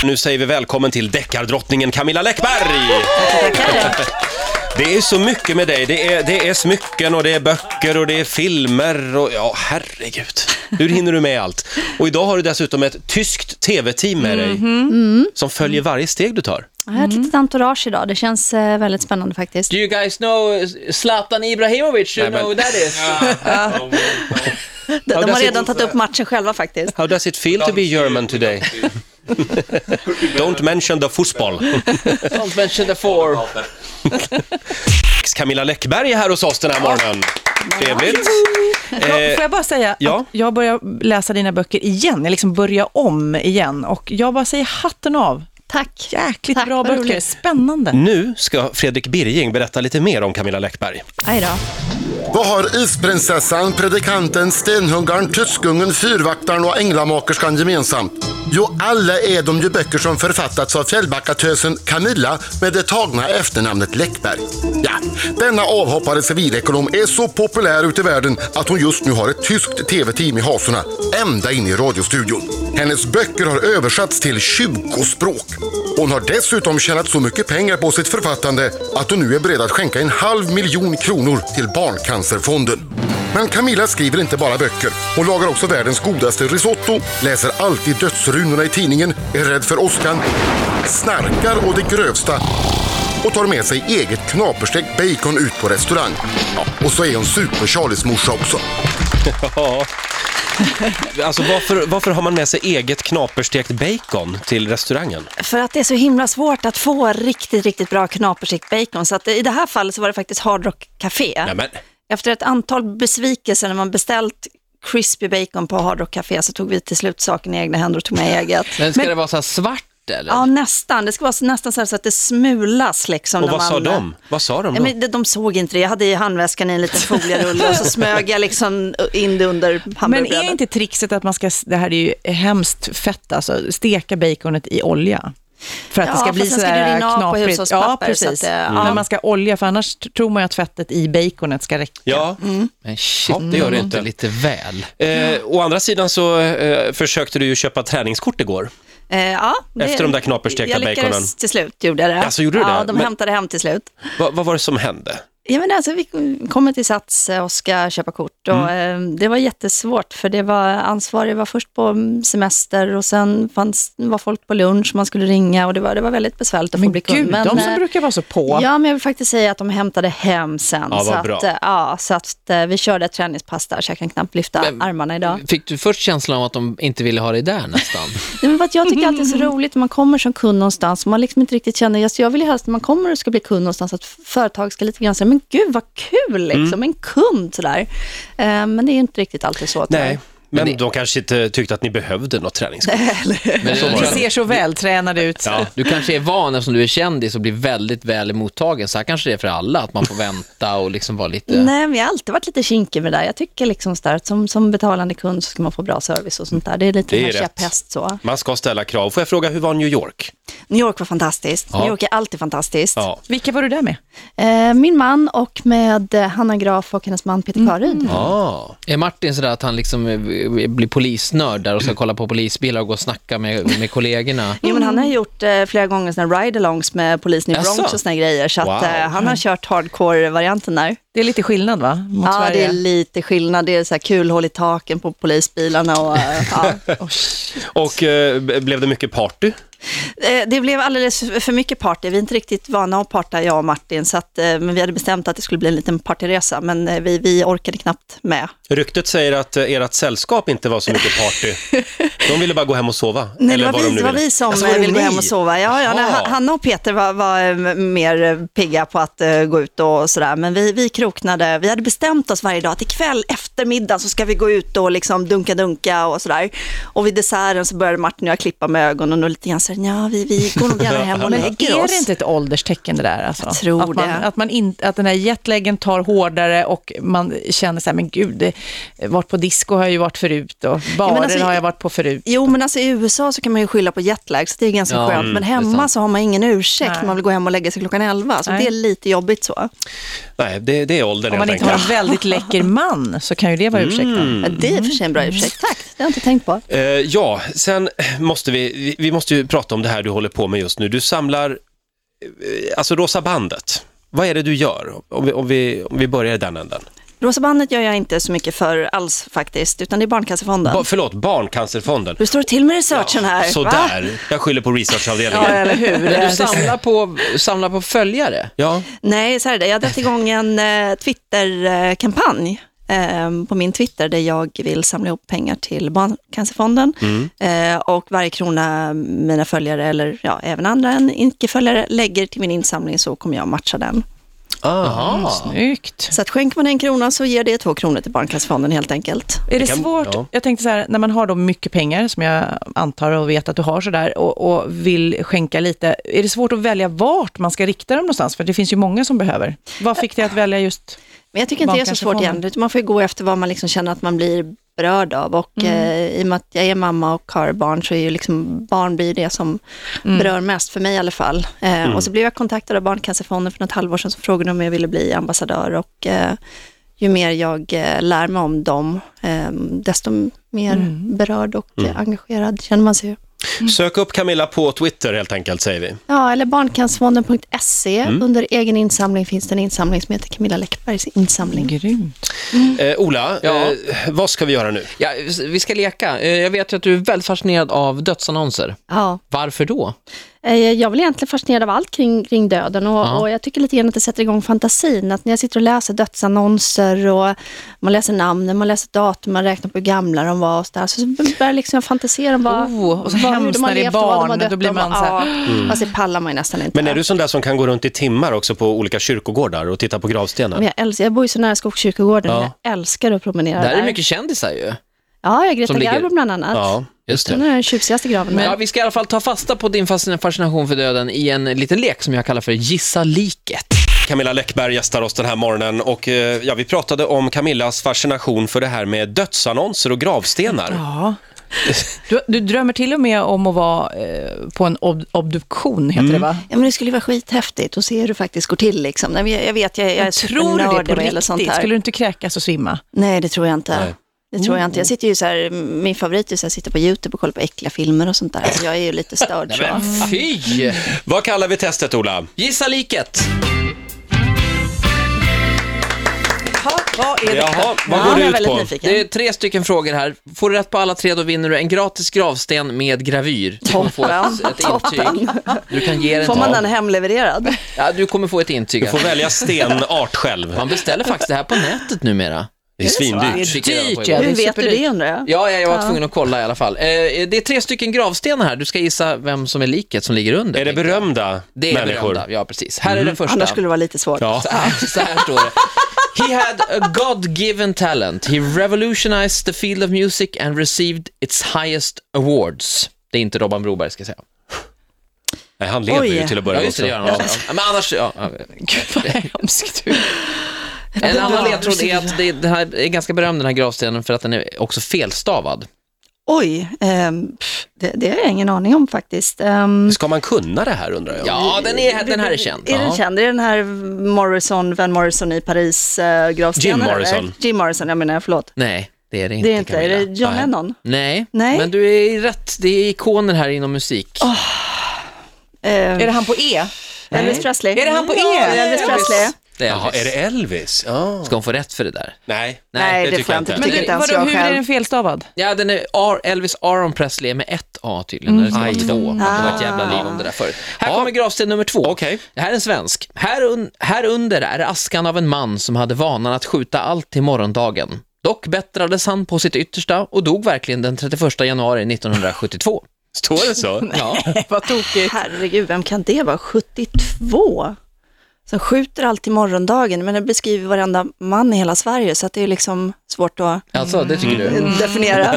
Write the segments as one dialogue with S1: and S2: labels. S1: för nu säger vi välkommen till deckardrottningen Camilla Läckberg! Det är så mycket med dig. Det är, det är smycken och det är böcker och det är filmer och ja, herregud. Hur hinner du med allt? Och idag har du dessutom ett tyskt tv-team med dig som följer varje steg du tar.
S2: Jag har ett litet entourage idag. Det känns eh, väldigt spännande faktiskt.
S3: Do you guys know Zlatan Ibrahimovic? You
S1: Nej, men-
S3: know who that is?
S2: De, de har redan tagit upp matchen själva faktiskt.
S1: How does it feel to be German today? Don't mention the football.
S3: Don't mention the four.
S1: Camilla Läckberg är här hos oss den här morgonen. Trevligt.
S4: Ja, får jag bara säga
S1: Eh, ja.
S4: att jag börjar läsa dina böcker igen. Jag liksom börjar om igen och jag bara säger hatten av.
S2: Tack.
S4: Jäkligt
S2: Tack,
S4: bra
S2: vad
S4: böcker.
S2: roligt.
S4: Spännande.
S1: Nu ska Fredrik Birging berätta lite mer om Camilla Läckberg.
S2: Aj då.
S5: Vad har isprinsessan, predikanten, stenhuggaren, tyskungen, fyrvaktaren och änglamakerskan gemensamt? Jo, alla är de ju böcker som författats av fjällbackatösen Camilla med det tagna efternamnet Läckberg. Ja, denna avhoppade civilekonom är så populär ute i världen att hon just nu har ett tyskt tv-team i hasorna ända in i radiostudion. Hennes böcker har översatts till 20 språk. Hon har dessutom tjänat så mycket pengar på sitt författande att hon nu är beredd att skänka en halv miljon kronor till Barncancerfonden. Men Camilla skriver inte bara böcker. Hon lagar också världens godaste risotto, läser alltid dödsrunorna i tidningen, är rädd för åskan, snarkar och det grövsta och tar med sig eget knaperstekt bacon ut på restaurang. Ja, och så är hon super-Charlies morsa också.
S1: Ja. Alltså varför, varför har man med sig eget knaperstekt bacon till restaurangen?
S2: För att det är så himla svårt att få riktigt, riktigt bra knapersikt bacon. Så att i det här fallet så var det faktiskt Hard Rock Café.
S1: Nämen.
S2: Efter ett antal besvikelser när man beställt crispy bacon på Hard Rock Café så tog vi till slut saken i egna händer och tog med eget.
S3: Men ska det vara så här svart eller?
S2: Ja, nästan. Det ska vara så- nästan så, här så att det smulas liksom.
S1: Och
S2: när
S1: vad sa
S2: man...
S1: de? Vad sa de
S2: Ja,
S1: då?
S2: men de, de såg inte det. Jag hade i handväskan i en liten folierulle och så smög jag liksom in det under
S4: Men är
S2: hamburgerbrödet.
S4: inte trickset att man ska, det här är ju hemskt fett alltså, steka baconet i olja? För att
S2: Ja,
S4: det ska
S2: fast
S4: bli
S2: sen ska
S4: sådär
S2: det rinna av på
S4: knaprigt.
S2: hushållspapper,
S4: Ja,
S2: så att
S4: precis.
S2: det- ja.
S4: Men man ska olja, för annars t- tror man ju att fettet i baconet ska räcka.
S1: Ja,
S3: Men shit,
S1: Ja, det gör det inte.
S3: låter lite väl.
S1: eh, å andra sidan så eh, försökte du ju köpa träningskort igår.
S2: Eh, ja, det,
S1: Efter de där knaperstekta
S2: Jag lyckades
S1: baconen.
S2: till slut, gjorde jag det.
S1: Alltså, gjorde du
S2: ja,
S1: det?
S2: de
S1: Men-
S2: hämtade hem till slut.
S1: Va, vad var det som hände?
S2: Ja, men alltså, vi kommer till Sats eh, och ska köpa kort. Och,
S1: Mm.
S2: eh, det var jättesvårt, för det var ansvarig var först på mm, semester och sen fanns, var folk på lunch man skulle ringa och det var, det var väldigt besvärligt att få
S4: Men
S2: bli
S4: gud,
S2: kund. Men,
S4: de som
S2: eh,
S4: brukar vara så på.
S2: Ja, men jag vill faktiskt säga att de hämtade hem sen.
S1: Ja, vad
S2: så att,
S1: bra.
S2: eh, ja, så att eh, vi körde ett träningspass där, så jag kan knappt lyfta armarna idag.
S3: Fick du först känslan av att de inte ville ha dig där nästan?
S2: Nej, men för att jag tycker alltid det är så roligt när man kommer som kund någonstans och man liksom inte riktigt känner, just, jag vill ju helst när man kommer och ska bli kund någonstans att företag ska lite grann säga, men gud vad kul
S1: Mm.
S2: liksom, en kund sådär. Eh, men det är ju inte riktigt alltid så. tyvärr.
S1: Nej, men de kanske inte tyckte att ni behövde något träningskort.
S3: Men,
S1: Så var
S4: Du
S1: det.
S4: ser så vältränad ut.
S1: Ja.
S3: Du kanske är van eftersom du är kändis och blir väldigt väl mottagen. Så här kanske det är för alla, att man får vänta och liksom vara lite...
S2: Nej, men jag har alltid varit lite kinkig med det där. Jag tycker liksom sådär, att som, som betalande kund så ska man få bra service och sånt där. Det är lite
S1: Det är
S2: en
S1: rätt.
S2: käpphäst så.
S1: Man ska ställa krav. Får jag fråga, hur var New York?
S2: New York var fantastiskt. New York är alltid fantastiskt.
S1: Ja.
S4: Vilka var du där med?
S2: Eh, min man och med eh, Hanna Graf och hennes man Peter Karyd.
S1: Ah.
S3: Är Martin sådär att han liksom eh, blir polisnörd där och ska kolla på polisbilar och gå och snacka med, med kollegorna?
S2: Jo, men han har gjort eh, flera gånger såna ride-alongs med polisen i Bronx
S1: Jaså?
S2: och såna grejer. Så att,
S1: Wow.
S2: eh, han har kört hardcore-varianten där.
S4: Det är lite skillnad va? Mot
S2: Ja, det
S4: Sverige.
S2: är lite skillnad. Det är så här kulhål i taken på polisbilarna. Och, eh, ja.
S1: Och eh, b- blev det mycket party?
S2: Eh, det blev alldeles för mycket party. Vi är inte riktigt vana att parta, jag och Martin. Så att, eh, men vi hade bestämt att det skulle bli en liten partyresa, men eh, vi, vi orkade knappt med.
S1: Ryktet säger att eh, ert sällskap inte var så mycket party. De ville bara gå hem och sova.
S2: Nej,
S1: eller
S2: det var,
S1: vad
S2: vi,
S1: de nu
S2: det var
S1: ville.
S2: vi som
S1: Alltså, var det
S2: eh, ville gå
S1: ni?
S2: hem och sova. Ja, ja, nej,
S1: Jaha.
S2: Han- Hanna och Peter var, var eh, m- mer eh, pigga på att eh, gå ut och sådär. Men vi, vi kroknade. Vi hade bestämt oss varje dag att ikväll eftermiddag så ska vi gå ut och liksom dunka-dunka och sådär. Och vid desserten så började Martin och jag klippa med ögonen och lite grann så här, ja, vi, vi går nog gärna hem och
S4: Men
S2: lägger
S4: är
S2: oss.
S4: det inte ett ålderstecken det där? Alltså?
S2: Jag tror
S4: att man,
S2: det.
S4: Att, man in, att den här jetlagen tar hårdare och man känner så här, men gud, det, varit på disco har jag ju varit förut och barer
S2: men alltså-
S4: har jag varit på förut.
S2: Jo, men alltså i USA så kan man ju skylla på jetlag, så det är ganska
S3: Ja,
S2: skönt.
S3: mm,
S2: Men
S3: det är
S2: hemma
S3: sant.
S2: så har man ingen ursäkt
S4: Nej.
S2: om man vill gå hem och lägga sig klockan 11, så
S4: Nej.
S2: det är lite jobbigt så.
S1: Nej, det, det är åldern
S4: Om man
S1: helt
S4: inte har
S1: enkelt.
S2: Mm.
S4: en väldigt läcker man så kan ju det vara ursäktat.
S2: Det är i och för sig en bra ursäkt. Mm. Tack, det har jag inte tänkt på.
S1: Eh, ja, sen måste vi, vi- vi måste ju prata om det här du håller på med just nu. Du samlar, eh, alltså Rosa bandet. Vad är det du gör? Om vi, om vi, om vi börjar i den änden.
S2: Rosa bandet gör jag inte så mycket för alls faktiskt, utan det är Barncancerfonden.
S1: Ba, förlåt, Barncancerfonden.
S2: Hur står det till med researchen här? Va?
S1: Sådär, jag skyller på
S4: Ja,
S1: researchavdelningen.
S4: eller hur?
S3: Men du samlar på, samlar på följare?
S1: Ja,
S2: Nej, så här är det. Jag har dragit igång en eh, Twitter-kampanj eh, på min Twitter där jag vill samla ihop pengar till Barncancerfonden. Eh, och varje krona mina följare, eller ja, även andra än icke-följare, lägger till min insamling så kommer jag matcha den.
S1: ah,
S4: Snyggt.
S2: Så att skänker man en krona så ger det två kronor till Barncancerfonden helt enkelt.
S4: Är det
S1: kan-
S4: svårt,
S1: ja.
S4: jag tänkte så här, när man har då mycket pengar, som jag antar och vet att du har sådär, och, och vill skänka lite, är det svårt att välja vart man ska rikta dem någonstans? För det finns ju många som behöver. Vad fick dig att välja just...
S2: Men jag tycker inte det är så svårt
S4: Barncancerfonden.
S2: igen. utan Man får ju gå efter vad man liksom känner att man blir berörd av. Och eh, i och med att jag är mamma och har barn så är ju liksom barn blir det som berör mest, för mig i alla fall. Eh, Och så blev jag kontaktad av Barncancerfonden för något halvår sedan som frågade om jag ville bli ambassadör. Och eh, ju mer jag eh, lär mig om dem, eh, desto mer berörd och eh, engagerad känner man sig ju.
S1: Mm. Sök upp Camilla på Twitter helt enkelt, säger vi.
S2: Ja, eller barncancerfonden.se. Under egen insamling finns det en insamling som heter Camilla Läckbergs insamling.
S4: Grymt.
S1: Eh, Ola,
S3: Ja.
S1: eh, vad ska vi göra nu?
S3: Ja, vi ska leka. Eh, Jag vet ju att du är väldigt fascinerad av dödsannonser.
S2: Ja.
S3: Varför då?
S2: Eh, Jag blir egentligen fascinerad av allt kring, kring döden och,
S3: Ja.
S2: och jag tycker lite grann att det sätter igång fantasin. Att när jag sitter och läser dödsannonser och man läser namnen, man läser datum, man räknar på hur gamla de var och så där. Så börjar liksom jag fantisera om vad,
S4: Oh, och så
S2: vad,
S4: hemskt när det är
S2: och vad
S4: barn,
S2: dött
S4: då blir
S2: av.
S4: man så här, Mm.
S2: Ja, Fast det pallar man ju nästan inte.
S1: Men är du sån där som kan gå runt i timmar också på olika kyrkogårdar och titta på gravstenar?
S2: Men jag, älskar, jag bor ju så nära Skogskyrkogården,
S1: Ja.
S2: jag älskar att promenera
S3: Där
S2: där.
S3: är det mycket kändisar ju.
S2: Ja, jag är Greta
S3: som ligger-
S2: Garbo bland annat.
S1: Ja, just
S2: Hon
S1: det.
S2: är den tjusigaste graven.
S3: Men...
S2: där.
S3: Ja, vi ska i alla fall ta fasta på din fascin- fascination för döden i en liten lek som jag kallar för Gissa liket.
S1: Camilla Läckberg gästar oss den här morgonen och eh, ja, vi pratade om Camillas fascination för det här med dödsannonser och gravstenar.
S4: ja. Du, du drömmer till och med om att vara eh, på en ob- obduktion, heter det va?
S2: Ja, men det skulle ju vara skithäftigt att se hur det faktiskt går till. Liksom. Nej, men Jag, jag vet, jag, jag är
S4: Tror du
S2: supernörd
S4: det på
S2: vad gäller sånt
S4: riktigt?
S2: här.
S4: Skulle du inte kräkas och svimma?
S2: Nej, det tror jag inte.
S1: Nej.
S2: Det tror jag inte. Jag sitter ju så här, min favorit är att jag sitter på YouTube och kollar på äckliga filmer och sånt där. Så jag är ju lite störd. så.
S3: Fy!
S1: Vad kallar vi testet, Ola?
S3: Gissa liket!
S4: Ha, vad är
S1: Jaha, vad
S2: Ja,
S1: går
S2: jag
S1: det
S2: är
S1: ut
S2: väldigt
S1: på?
S2: nyfiken.
S3: Det är tre stycken frågor här. Får du rätt på alla tre, då vinner du en gratis gravsten med gravyr. Du kommer få ett, ett intyg. Du kan ge den
S2: Får
S3: till
S2: man
S3: någon.
S2: den hemlevererad?
S3: Ja, du kommer få ett intyg.
S1: Du får
S3: alltså.
S1: välja stenart själv.
S3: Man beställer faktiskt det här på nätet numera.
S1: Det är
S3: Det
S1: svindyrt.
S3: är
S4: Dyrt, ja,
S3: dyrt,
S4: det är
S3: ja.
S2: Hur vet du
S4: superdyrt.
S2: det undrar jag?
S3: Ja, ja, jag var tvungen att kolla i alla fall. Eh, det är tre stycken gravstenar här. Du ska gissa vem som är liket som ligger under.
S1: Är det berömda
S3: Det är
S1: människor? Mm.
S3: berömda, ja precis. Här är den första.
S2: Annars skulle det vara lite svårt.
S1: Ja.
S3: Så här, så här står det. He had a God-given talent. He revolutionized the field of music and received its highest awards. Det är inte Robban Broberg ska jag säga.
S1: Nej, han lever
S2: Oj.
S1: ju till att börja
S3: Ja,
S1: med
S3: just det, det gör
S1: också.
S3: han också. Ja, Men annars, ja. ja.
S4: Gud, vad hemskt du är.
S3: En annan ledtråd är att det, det här är ganska berömd den här gravstenen för att den är också felstavad.
S2: Oj, ehm, pff, det, det har jag ingen aning om faktiskt. Ehm,
S1: Ska man kunna det här undrar jag?
S3: Ja, den, är, den här är känd.
S2: Är den känd? Är det den här Morrison, Van Morrison i Paris eh, gravstenen?
S1: Jim
S2: eller?
S1: Morrison.
S2: Jim Morrison, jag menar, förlåt.
S3: Nej, det är det inte.
S2: Det är inte, är det
S3: Camilla.
S2: John
S3: Nej.
S2: Lennon?
S3: Nej.
S2: Nej.
S3: men du är rätt. Det är ikoner här inom musik.
S2: Ehm,
S4: Är det han på E?
S2: Elvis Presley.
S4: Är det han på E?
S2: Ja, Elvis
S4: Elvis.
S2: Presley.
S3: Det är
S1: Jaha,
S3: Elvis.
S1: är det Elvis? Ja.
S3: Ska hon få rätt för det där?
S1: Nej,
S2: Nej, det får jag inte.
S4: Men
S2: Tycker
S4: det,
S2: inte ens
S4: vadå,
S2: jag
S4: hur är
S2: själv.
S4: den felstavad?
S3: Ja, den är Ar- Elvis Aron Presley är med ett A tydligen, när det ska vara
S1: Mm.
S3: två. Det var ett jävla liv om det där förut. Här kommer gravsten nummer två.
S1: Okej.
S3: Det här är en svensk. Här, un- här under är askan av en man som hade vanan att skjuta allt till morgondagen. Dock bättrades han på sitt yttersta och dog verkligen den 31 januari 1972.
S1: Står det så?
S3: Ja,
S4: Vad tokigt.
S2: Herregud, vem kan det vara? 72? Som skjuter alltid morgondagen, men det beskriver varenda man i hela Sverige, så att det är liksom svårt att
S3: alltså det tycker du.
S2: Mm.
S1: Mm.
S2: definiera.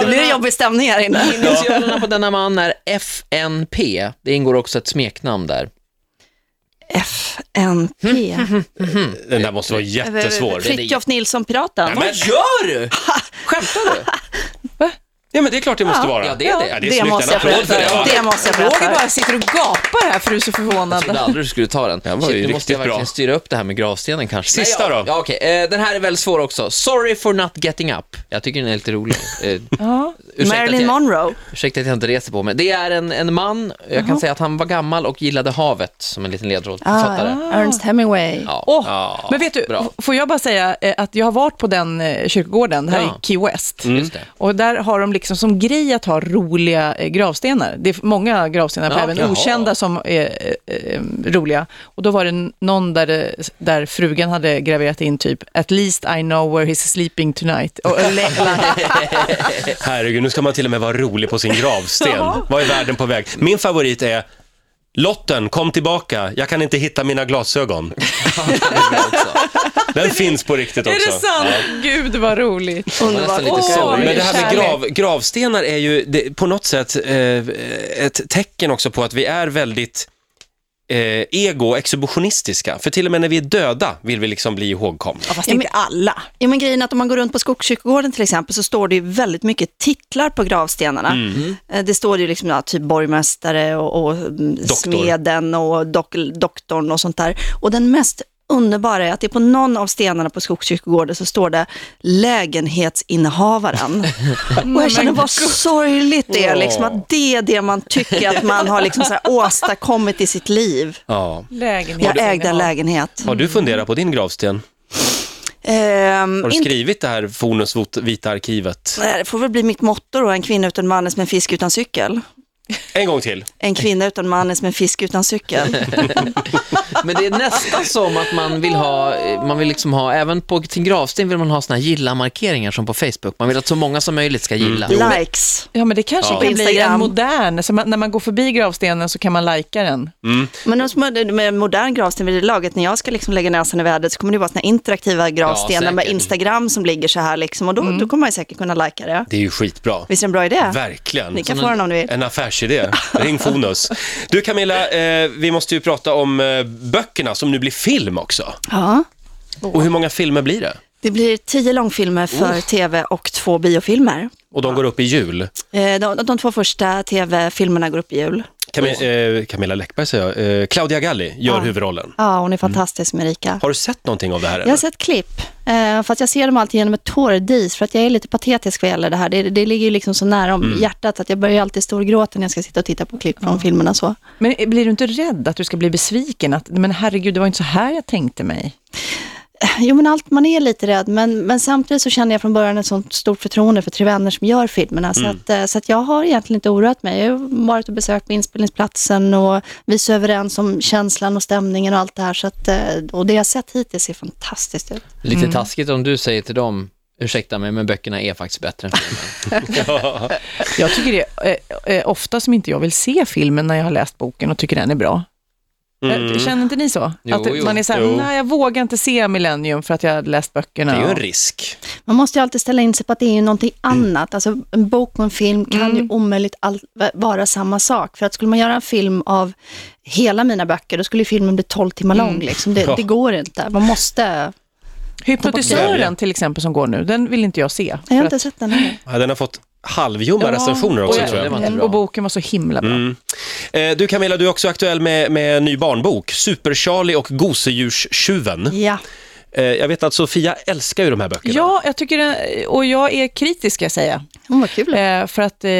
S2: det blir en jobbig stämning här inne.
S3: Initialerna på denna man är FNP. Det ingår också ett smeknamn där.
S2: FNP.
S1: Mm. Den där måste vara jättesvår.
S2: Fritiof Nilsson, Piraten.
S1: Nej, men-
S3: gör du? Skämtar du?
S1: Ja, men det är klart det måste vara.
S3: Ja, det är det.
S1: Ja, det är
S2: Det
S1: snyggt.
S2: måste
S1: En
S2: jag
S1: applåd för det.
S2: berätta.
S1: Ja.
S2: Det måste jag berätta.
S4: Roger bara sitter och gapar här, för du är så
S3: Jag
S4: förvånad.
S3: trodde aldrig du skulle ta den.
S1: Den var ju
S3: Shit, nu måste
S1: riktigt
S3: jag verkligen
S1: bra.
S3: styra upp det här med gravstenen kanske.
S1: Sista
S3: Nej, ja,
S1: då?
S3: Ja, okej. Eh, Den här är väldigt svår också. Sorry for not getting up. Jag tycker den är lite rolig. Eh,
S4: Ja.
S3: ursäkta att
S2: Marilyn
S3: jag-
S2: Monroe.
S3: Ursäkta att jag inte reser på mig. Det är en, en man, jag kan säga att han var gammal och gillade havet, som en liten ledtråd. Författare.
S2: Ernst Hemingway.
S3: Ja.
S4: Ah. Åh,
S3: Ja,
S4: men vet du,
S3: bra.
S4: f- får jag bara säga eh, att jag har varit på den eh, kyrkogården, det här
S3: Ja. Mm.
S4: i Key West.
S3: Just det.
S4: Och där har de liksom som grej att ha roliga eh, gravstenar. Det är många gravstenar,
S3: Ja,
S4: på även
S3: jaha.
S4: okända, som är eh, eh, roliga. Och då var det n- någon där, det- där frugan hade graverat in typ “At least I know where he's sleeping tonight”. Och, eller,
S1: Herregud, nu ska man till och med vara rolig på sin gravsten. Vad är världen på väg? Min favorit är Lotten, kom tillbaka. Jag kan inte hitta mina glasögon.
S3: Det är bra också.
S1: Den finns på riktigt också.
S4: är det sant? Gud vad roligt.
S3: Det var nästan lite
S4: Åh,
S3: sorgligt.
S1: Men det här med
S4: Kärlek.
S1: grav, gravstenar är ju det, på något sätt eh, ett tecken också på att vi är väldigt eh, ego exhibitionistiska. För till och med när vi är döda vill vi liksom bli ihågkomna.
S4: Fast inte alla.
S2: Ja, men grejen är att om man går runt på Skogskyrkogården till exempel så står det ju väldigt mycket titlar på gravstenarna. Eh, Det står ju liksom ja, typ borgmästare och, och mm, smeden och dok, doktorn och sånt där. Och den mest underbara är att det är på någon av stenarna på Skogskyrkogården så står det lägenhetsinnehavaren. Och jag känner vad sorgligt det är, liksom, att det är det man tycker att man har liksom så här åstadkommit i sitt liv.
S1: Ja.
S4: Lägenhet.
S2: Jag ägde en lägenhet.
S1: Har du funderat på din gravsten?
S2: Ehm,
S1: Har du
S2: inte-
S1: skrivit det här Fornus vita arkivet?
S2: Nej, det får väl bli mitt motto då, en kvinna utan man är som en fisk utan cykel.
S1: En gång till.
S2: En kvinna utan man är som en fisk utan cykel.
S3: Men det är nästan som att man vill ha, eh, man vill liksom ha, även på sin gravsten vill man ha såna här gilla-markeringar som på Facebook. Man vill att så många som möjligt ska gilla.
S2: Likes.
S4: Ja, men det kanske
S2: Ja.
S4: kan bli
S2: Instagram.
S4: en modern, så man, när man går förbi gravstenen så kan man lajka den.
S2: Men de som har- med modern gravsten vid det laget, när jag ska liksom lägga näsan i vädret så kommer det vara såna här interaktiva gravstenar med
S3: säkert.
S2: Instagram som ligger så här liksom. Och då, då kommer man ju säkert kunna lajka det.
S1: Det är ju skitbra.
S2: Visst är det en bra idé?
S1: Verkligen.
S2: Ni kan få den om ni vill.
S1: En affärsidé. Ring Fonus. Du Camilla, eh, vi måste ju prata om eh, böckerna som nu blir film också.
S2: Ja.
S1: Och hur många filmer blir det?
S2: Det blir tio långfilmer för tv och två biofilmer.
S1: Och de går upp i jul.
S2: Eh, De, de två första tv-filmerna går upp i jul.
S1: Cam- eh, Camilla Läckberg säger jag. Eh, Claudia Galli gör huvudrollen.
S2: Ja, hon är fantastisk, Erika.
S1: Har du sett någonting av det här?
S2: Jag har
S1: Eller?
S2: sett klipp, eh, fast jag ser dem alltid genom ett tårdis för att jag är lite patetisk vad gäller det här. Det, det ligger ju liksom så nära om hjärtat att jag börjar ju alltid storgråta när jag ska sitta och titta på klipp från filmerna så.
S4: Men blir du inte rädd att du ska bli besviken? Att, men herregud, det var inte så här jag tänkte mig.
S2: Jo men allt, man är lite rädd, men, men samtidigt så känner jag från början ett sånt stort förtroende för tre vänner som gör filmerna. Så, att, eh, så att jag har egentligen inte oroat mig. Jag har varit och besökt inspelningsplatsen och vi är så överens om känslan och stämningen och allt det här. Så att, eh, och det jag sett hittills ser fantastiskt ut.
S3: Lite taskigt om du säger till dem, ursäkta mig, men böckerna är faktiskt bättre än filmen.
S4: Jag tycker det eh, eh, ofta som inte jag vill se filmen när jag har läst boken och tycker den är bra. Eh, Känner inte ni så?
S3: Jo,
S4: att
S3: jo,
S4: man är så här,
S1: Mm. jo.
S4: nej jag vågar inte se Millennium för att jag har läst böckerna.
S1: Det är ju en
S4: Och-
S1: risk.
S2: Man måste ju alltid ställa in sig på att det är ju någonting annat. Alltså en bok och en film kan ju omöjligt all- vara samma sak. För att skulle man göra en film av hela mina böcker, då skulle ju filmen bli 12 timmar lång. Liksom. Det,
S1: Ja.
S2: det går inte. Man måste...
S4: Hypnotisören till exempel som går nu, den vill inte jag se.
S2: Jag har
S4: För
S2: inte sett den heller.
S1: Ja, den har fått halvljumma
S4: Ja,
S1: recensioner
S4: och
S1: också
S4: jag-
S1: tror
S3: det
S1: jag.
S3: var inte
S4: att,
S3: bra.
S4: och boken var så himla bra.
S1: Eh, du Camilla, du är också aktuell med, med en ny barnbok, Super-Charlie och Gosedjurstjuven.
S2: Ja.
S1: Eh, jag vet att Sofia älskar ju de här böckerna.
S4: Ja, jag tycker den, och jag är kritisk ska jag säga.
S2: Hon var kul.
S4: Eh, för att eh,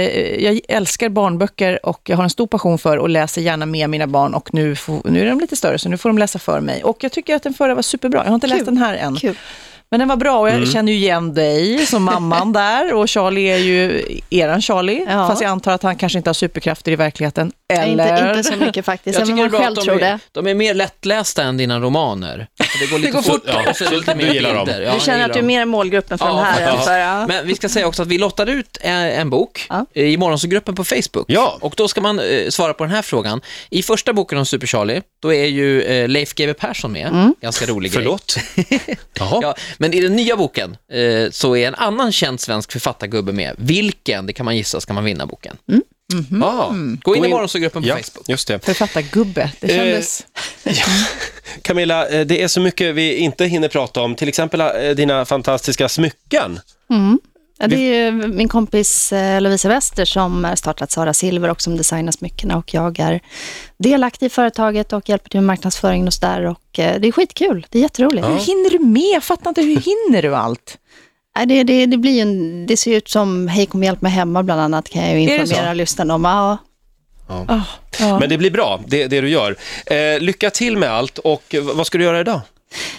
S4: jag älskar barnböcker och jag har en stor passion för och läser gärna med mina barn och nu, får, nu är de lite större så nu får de läsa för mig. Och jag tycker att den förra var superbra. Jag har inte läst den här än.
S2: Kul.
S4: Men den var bra och jag känner ju igen dig som mamman där och Charlie är ju eran Charlie.
S2: Ja.
S4: Fast jag antar att han kanske inte har superkrafter i verkligheten. Eller?
S2: Inte, inte så mycket faktiskt,
S3: Jag
S2: även om
S3: tycker det är
S2: man
S3: bra att
S2: själv
S3: de
S2: tror
S3: är,
S2: det.
S3: de är mer lättlästa än dina romaner. Det går lite
S4: går
S3: fort.
S1: fortare.
S3: och så är det lite
S1: Du
S3: mer
S1: gillar dem.
S3: bilder. Ja,
S2: Du
S3: jag
S2: känner
S3: gillar
S2: att du är
S3: dem.
S2: mer målgruppen för
S3: Ja,
S2: den här
S3: ja.
S2: än för... Ja.
S3: Men vi ska säga också att vi lottade ut eh, en bok
S2: Ja.
S3: eh, i morgonsgruppen på Facebook.
S1: Ja.
S3: Och då ska man eh, svara på den här frågan. I första boken om Super Charlie, då är ju eh, Leif GW Persson med.
S2: Mm.
S3: Ganska rolig grej.
S1: Förlåt? Jaha.
S3: Ja, men i den nya boken eh, så är en annan känd svensk författargubbe med. Vilken, det kan man gissa, ska man vinna boken.
S1: Ah.
S2: Mm.
S3: Gå in i morgonsgruppen på
S1: Ja,
S3: Facebook.
S1: just det.
S4: Författargubbe, det kändes...
S1: Camilla, eh, det är så mycket vi inte hinner prata om, till exempel eh, dina fantastiska smycken.
S2: Ja, det är ju min kompis eh, Lovisa Wester som har startat Sara Silver och som designar smyckena och jag är delaktig i företaget och hjälper till med marknadsföringen och sådär och eh, det är skitkul, det är jätteroligt.
S4: Hur hinner du med? Jag fattar inte, hur hinner du allt?
S2: Nej, Det, det, det, blir ju en, det ser ju ut som Hej kom och hjälp mig hemma bland annat kan jag ju
S4: det
S2: informera lyssnarna om. Ja,
S4: Ah, ja.
S1: Men det blir bra, det, det du gör. Eh, lycka till med allt och eh, vad ska du göra idag?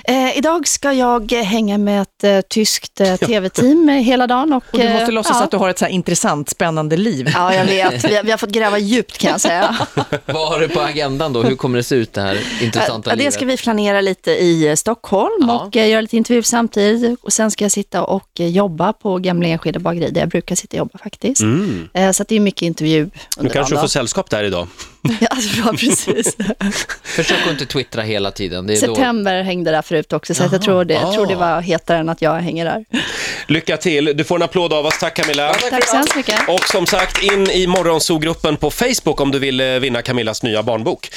S2: Eh, idag ska jag eh, hänga med ett eh, tyskt eh, tv-team eh, hela dagen. Och,
S4: Och du måste
S2: eh,
S4: låtsas
S2: ja.
S4: att du har ett så här intressant, spännande liv.
S6: Ja, jag vet.
S2: vi, har- vi har fått gräva djupt kan jag säga.
S3: Vad har du på agendan då? Hur kommer det se ut det här intressanta
S6: Ja, det
S3: livet?
S6: ska vi planera lite i eh, Stockholm
S3: Ja.
S2: och eh, göra lite intervjuer samtidigt. Och sen ska jag sitta och eh, jobba på Gamla Enskede bageri, där jag brukar sitta och jobba faktiskt. Eh, Så att det är mycket intervju
S1: Nu
S2: under
S1: kanske du
S2: dagen
S1: får sällskap där idag.
S2: då. Ja, alltså, bra, precis.
S3: Försök att inte twittra hela tiden. Det är då...
S2: September hängde där förut också, så att jag tror det, jag tror det var hetare än att jag hänger där.
S1: Lycka till, du får en applåd av oss. Tack Camilla.
S2: Tack så hemskt mycket.
S1: Och som sagt, in i morgonzoo-gruppen på Facebook om du vill eh, vinna Camillas nya barnbok.